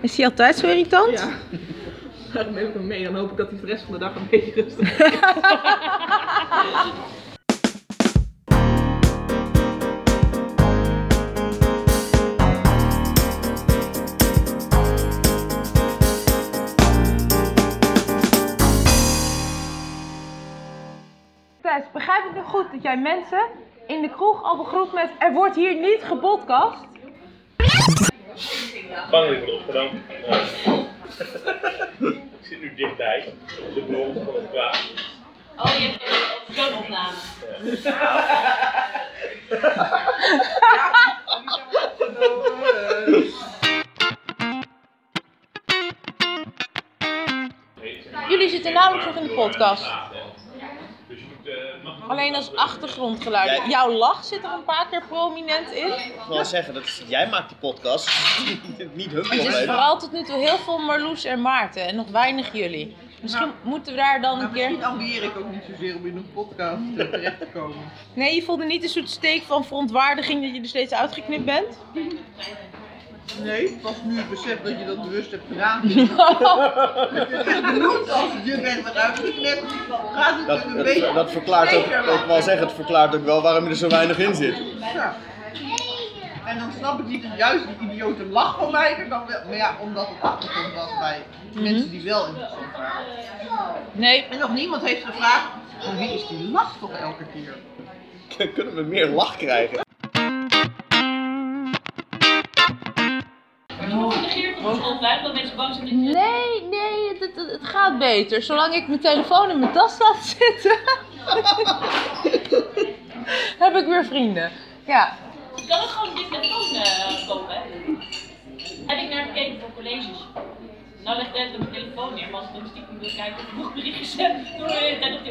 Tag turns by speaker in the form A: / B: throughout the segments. A: Is hij altijd zo irritant?
B: Ja. Daarom neem ik hem mee. Dan hoop ik dat hij voor de rest van de dag een beetje rustig is.
A: Thijs, begrijp ik nu goed dat jij mensen in de kroeg al begroet met er wordt hier niet gepodcast?
C: Bang dat ik word opgenomen. Nou. ik zit nu dichtbij, op de bron van het kwaad.
D: Oh, je hebt zo'n opname.
A: Jullie zitten namelijk nog in de podcast.
C: Dus je moet, eh, mag-
A: Alleen als achtergrondgeluid.
E: Jij-
A: Jouw lach zit er een paar keer prominent in.
E: Ik wil wel zeggen, dat is- jij maakt die podcast. niet hun
A: Het is
E: probleem.
A: vooral tot nu toe heel veel Marloes en Maarten en nog weinig jullie. Misschien moeten we daar dan een
B: Maar
A: keer...
B: misschien ambieer ik ook niet zozeer om in een podcast eh, terecht te komen.
A: Nee, je voelde niet een soort steek van verontwaardiging dat je er steeds uitgeknipt bent?
B: Nee, pas nu het besef dat je dat bewust hebt gedaan. Het is echt benoemd als je bent wat uitgeknipt. Gaat het
E: Dat,
B: een beetje
E: dat, dat verklaart ook,
B: beter
E: ik wil zeggen, het verklaart ook wel waarom je er zo weinig in zit.
B: Ja. En dan snap ik niet dat juist die idiote lach van mij er dan wel. Maar ja, omdat het achtergrond was bij mensen die wel interessant waren.
A: Nee.
B: En nog niemand heeft gevraagd, van wie is die lach toch elke keer?
E: Kunnen we meer lach krijgen?
D: Wordt je nog genegeerd op het online, dat mensen bang zijn dat je...
A: Nee, nee, het, het- het gaat beter. Zolang ik mijn telefoon in mijn tas laat zitten, heb ik weer vrienden. Ja.
D: Je kan ook gewoon een dictafoon eh kopen, hè. Heb ik naar gekeken voor colleges. Nou legt ik op mijn telefoon neer, maar als ik nog stiekem wil kijken of ik nog berichtjes heb, dan hoor je de hele tijd op de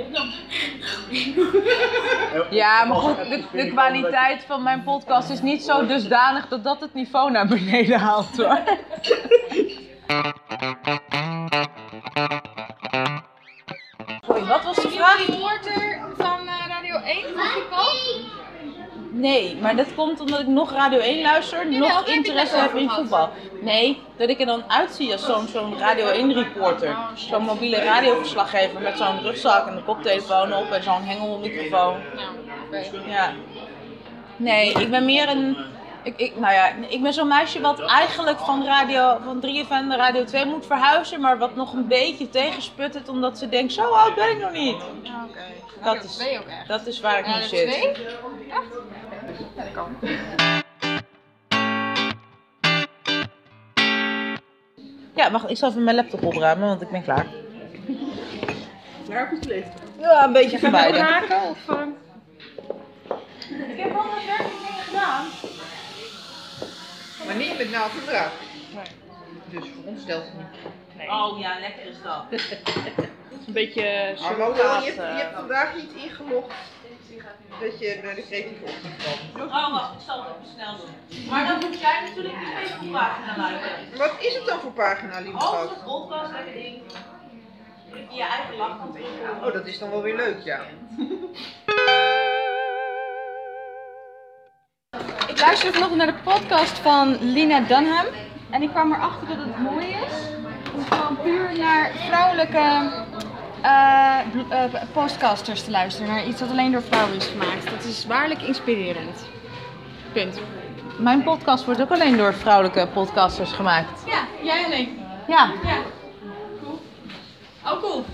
D: opname.
A: Ja, maar goed, de, de kwaliteit van mijn podcast is niet zo dusdanig dat dat het niveau naar beneden haalt hoor. Sorry, wat was de vraag?
F: reporter van eh, Radio 1 van voetbal.
A: Nee, maar dat komt omdat ik nog Radio 1 luister,
F: daar
A: nog
F: heb ik
A: interesse
F: het
A: heb in
F: over gehad.
A: voetbal. Nee, dat ik er dan uitzie als zo'n zo'n Radio 1 reporter.
F: Oh,
A: Zo'n mobiele radioverslaggever met zo'n rugzak en een koptelefoon op en zo'n hengelmicrofoon.
F: Nou, oké.
A: Ja. Nee, ik ben meer een. Ik, ik, nou ja, ik ben zo'n meisje wat eigenlijk van, radio, van 3FM naar Radio 2 moet verhuizen, maar wat nog een beetje tegensputtert omdat ze denkt, zo oud ben ik nog niet.
F: Ja, oké.
A: Nou, Dat
F: Radio
A: is,
F: 2 ook echt.
A: dat is waar ik nu
F: Radio
A: zit.
F: 2? Echt? Ja, dat kan.
A: Ja, wacht, ik zal even mijn laptop opruimen, want ik ben klaar.
B: Daar heb je het licht.
A: Ja, een beetje van beide.
B: Maar niet met nou verdrag. Dus voor ons stelt het niet.
A: Oh ja, lekker is dat.
G: Een beetje
B: Hallo, nou.
G: surrogaat,
B: je, hebt, je
G: eh,
B: hebt vandaag niet ingelogd dat je naar de creatieve opdracht kwam.
A: Oh, wacht, ik zal het even snel doen. Maar dan moet jij natuurlijk die Facebookpagina luisteren.
B: Wat is het dan voor pagina, lieve schat?
A: Als podcast lekker ding. Druk je je eigen lach een beetje aan.
B: Oh, dat is dan wel weer leuk, ja.
F: Ik luisterde nog naar de podcast van Lina Dunham. En ik kwam erachter dat het mooi is om gewoon puur naar vrouwelijke eh, bl- eh, podcasters te luisteren. Naar iets dat alleen door vrouwen is gemaakt. Dat is waarlijk inspirerend. Punt.
A: Mijn podcast wordt ook alleen door vrouwelijke podcasters gemaakt.
F: Ja, jij alleen.
A: Ja.
F: Ja. Oh, cool.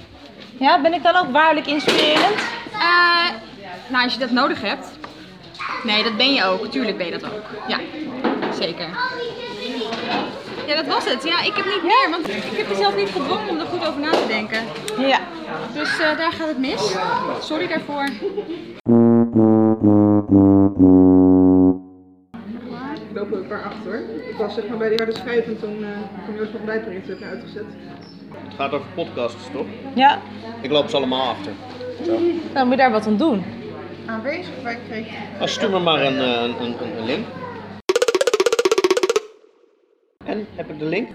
A: Ja, ben ik dan ook waarlijk inspirerend?
F: Eh, nou, als je dat nodig hebt. Nee, dat ben je ook. Tuurlijk ben je dat ook. Ja, zeker. Ja, dat was het. Ja, ik heb niet meer, want ik heb mezelf niet gedwongen om er goed over na te denken.
A: Ja.
F: Dus eh, daar gaat het mis. Sorry daarvoor.
B: Ik loop er een paar achter. Ik was zeg maar bij de harde schijf en toen uh, kwam Joost nog bijprint heb ik uitgezet.
E: Het gaat over podcasts, toch?
A: Ja.
E: Ik loop ze allemaal achter.
A: Dan moet je daar wat aan doen.
B: Aanwezig bij creatieve.
E: Nou, stuur me maar een, eh, een, een, een link. En, heb ik de link?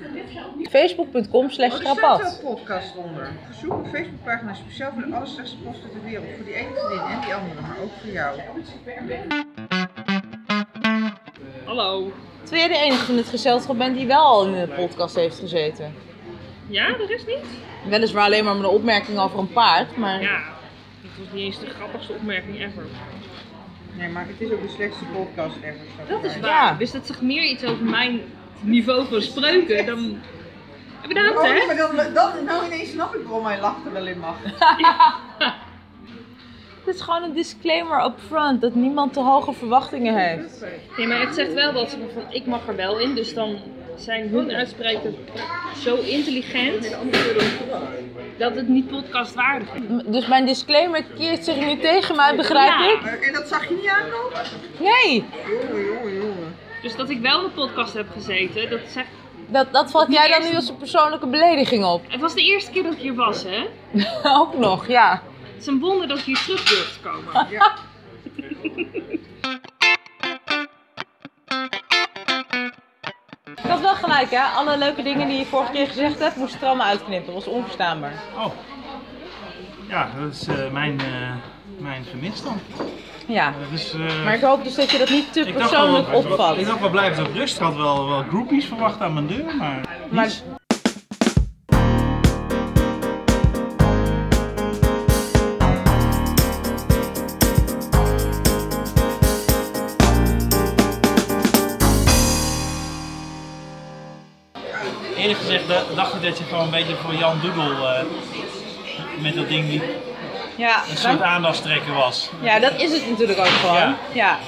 A: Facebook.com slash
B: Oh, er staat
A: grappad.
B: zo'n podcast onder. Zoek een Facebookpagina speciaal voor de allerslechtste posten ter wereld. Voor die ene vriendin en die andere, maar ook voor jou.
G: Hallo.
A: twee de enige in het gezelschap bent die wel al in de podcast heeft gezeten.
F: Ja, de rest niet?
A: Weliswaar alleen maar met een opmerking over een paard, maar...
F: Ja. Dit was niet eens de grappigste opmerking ever.
B: Nee, maar het is ook de slechtste podcast ever. staat
F: Dat is
B: erbij.
F: waar.
A: Ja.
F: Dus dat zegt meer iets over mijn niveau van spreuken dan... Ja, Bedankt,
B: Oh, nee,
F: hè?
B: maar dan, dan, nou ineens snap ik waarom hij lacht er wel in mag.
A: Het is gewoon een disclaimer up front dat niemand te hoge verwachtingen heeft.
F: Nee, maar het zegt wel wat van ik mag er wel in, dus dan zijn hun uitspreken zo intelligent dat het niet podcastwaardig is.
A: M- Dus mijn disclaimer keert zich niet tegen mij, begrijp
F: Ja.
A: ik?
B: Maar- Eh, En dat zag je niet aankomen?
A: Nee,
B: Jongen, jongen, jongen.
F: Dus dat ik wel in de podcast heb gezeten, dat zegt...
A: dat, dat valt jij dan nu als een persoonlijke belediging op.
F: Het was de eerste keer dat ik hier was, hè?
A: Ook nog, ja.
F: Het is een wonder dat ik hier terug durf te komen.
A: Ik had wel gelijk, hè? Alle leuke dingen die je vorige keer gezegd hebt, moest je er allemaal uitknippen. Dat was onverstaanbaar.
H: Oh. Ja, dat is eh, mijn, eh, mijn vermis dan.
A: Ja.
H: Eh, dus, eh,
A: Maar ik hoop dus dat je dat niet te
H: dacht wel-
A: persoonlijk opvat.
H: Ik dacht wel blijft op rust. Ik had wel, wel groupies verwacht aan mijn deur, maar...
A: Maar
H: niets. Eerlijk gezegd eh, dacht ik dat je gewoon een beetje voor Jan Dubel eh, met dat ding liep.
A: ja,
H: een soort
A: dank-
H: aandachtstrekker was.
A: ja, dat is het natuurlijk ook gewoon.
H: Ja.
A: Ja.